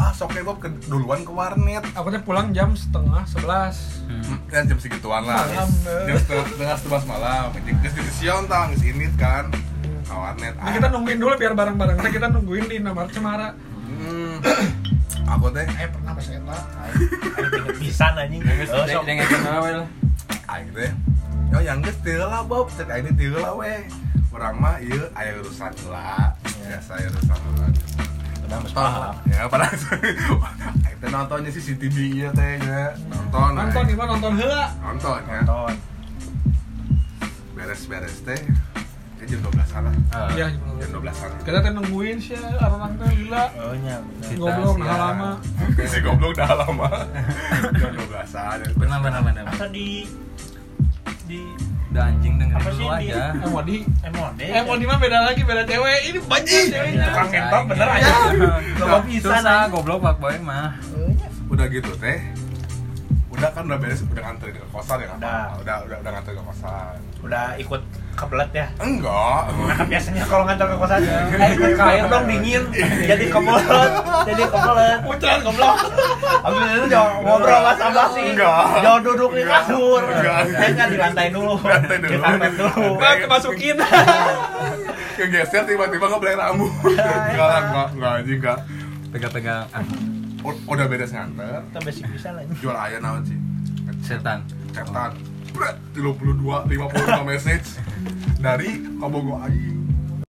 Speaker 1: Hmm.
Speaker 2: ah soknya gue ke- duluan ke warnet
Speaker 4: Aku teh pulang jam setengah sebelas.
Speaker 1: Hmm.
Speaker 2: Hmm, ya jam segituan lah
Speaker 4: Malam, eh.
Speaker 2: jam setengah setengah sebelas malam terus di Sion tang di sini kan ke warnet
Speaker 4: Nah, kita nungguin dulu biar bareng-bareng. Nah, kita nungguin di nomor Cemara.
Speaker 2: Hmm, aku teh
Speaker 4: Eh pernah pas eta.
Speaker 3: Aing inget pisan anjing. Heeh, sok.
Speaker 1: Dengan kenal wel.
Speaker 2: aing teh yo yang geus teu lah bob cek aing teh teu lah we orang mah iya, ieu aya urusan lah
Speaker 4: Iya.
Speaker 2: biasa aya urusan lah
Speaker 3: Udah, mas,
Speaker 2: nonton
Speaker 3: paham.
Speaker 2: ya padahal aing teh nontonnya si CCTV ieu teh ya nonton
Speaker 4: Nonton
Speaker 2: aing.
Speaker 4: gimana? Nonton heula.
Speaker 2: nonton ya
Speaker 3: Nonton.
Speaker 2: beres-beres teh ya jam 12 an lah
Speaker 4: Iya,
Speaker 1: Iya.
Speaker 4: jam
Speaker 2: jam 12
Speaker 4: 12.
Speaker 2: an
Speaker 4: Kita teh nungguin sih orang teh gila.
Speaker 3: Oh, nya. bener.
Speaker 4: Goblok
Speaker 1: Kita
Speaker 4: nah
Speaker 1: siang.
Speaker 4: lama.
Speaker 2: si goblok dah lama jam 12 an
Speaker 1: Benar benar benar.
Speaker 3: Asa di di
Speaker 1: Udah anjing dengerin
Speaker 3: Apa sih
Speaker 1: dulu
Speaker 3: ini?
Speaker 1: aja.
Speaker 4: MOD.
Speaker 3: MOD.
Speaker 4: MOD mah beda lagi, beda cewek. Ini banyak ceweknya.
Speaker 3: Tukang ngentot bener
Speaker 1: Sayang.
Speaker 3: aja.
Speaker 1: Goblok
Speaker 3: Goblok pisan,
Speaker 1: Susah
Speaker 3: anjing.
Speaker 1: goblok pak boy mah.
Speaker 2: udah gitu teh udah kan udah beres udah nganterin ke kosan ya kan
Speaker 3: Udah.
Speaker 2: udah udah udah nganterin ke kosan
Speaker 3: Udah ikut kebelet ya.
Speaker 2: enggak
Speaker 3: Nah, biasanya kalau ngantar ke kosan,
Speaker 4: Iya.
Speaker 3: eh ikut kayak dong dingin, jadi kebelet, jadi kebelet.
Speaker 4: Pucat goblok.
Speaker 3: Abis itu jangan ngobrol sama sama sih.
Speaker 2: Enggak.
Speaker 3: Jangan duduk di
Speaker 2: Enggak.
Speaker 3: kasur.
Speaker 2: Enggak.
Speaker 3: Kayaknya di lantai dulu.
Speaker 2: Di lantai dulu.
Speaker 3: Di karpet dulu.
Speaker 4: Nah, kemasukin.
Speaker 2: kegeser tiba-tiba ngebelai rambut
Speaker 3: Iya.
Speaker 2: enggak lah enggak enggak anjing enggak
Speaker 1: Pegang-pegang ah,
Speaker 2: U- udah beres nganter
Speaker 3: Kita basic bisa lah. ini.
Speaker 2: jual ayah naon sih
Speaker 1: setan.
Speaker 2: cetan Bret, 32 55 message dari Kobogo Aing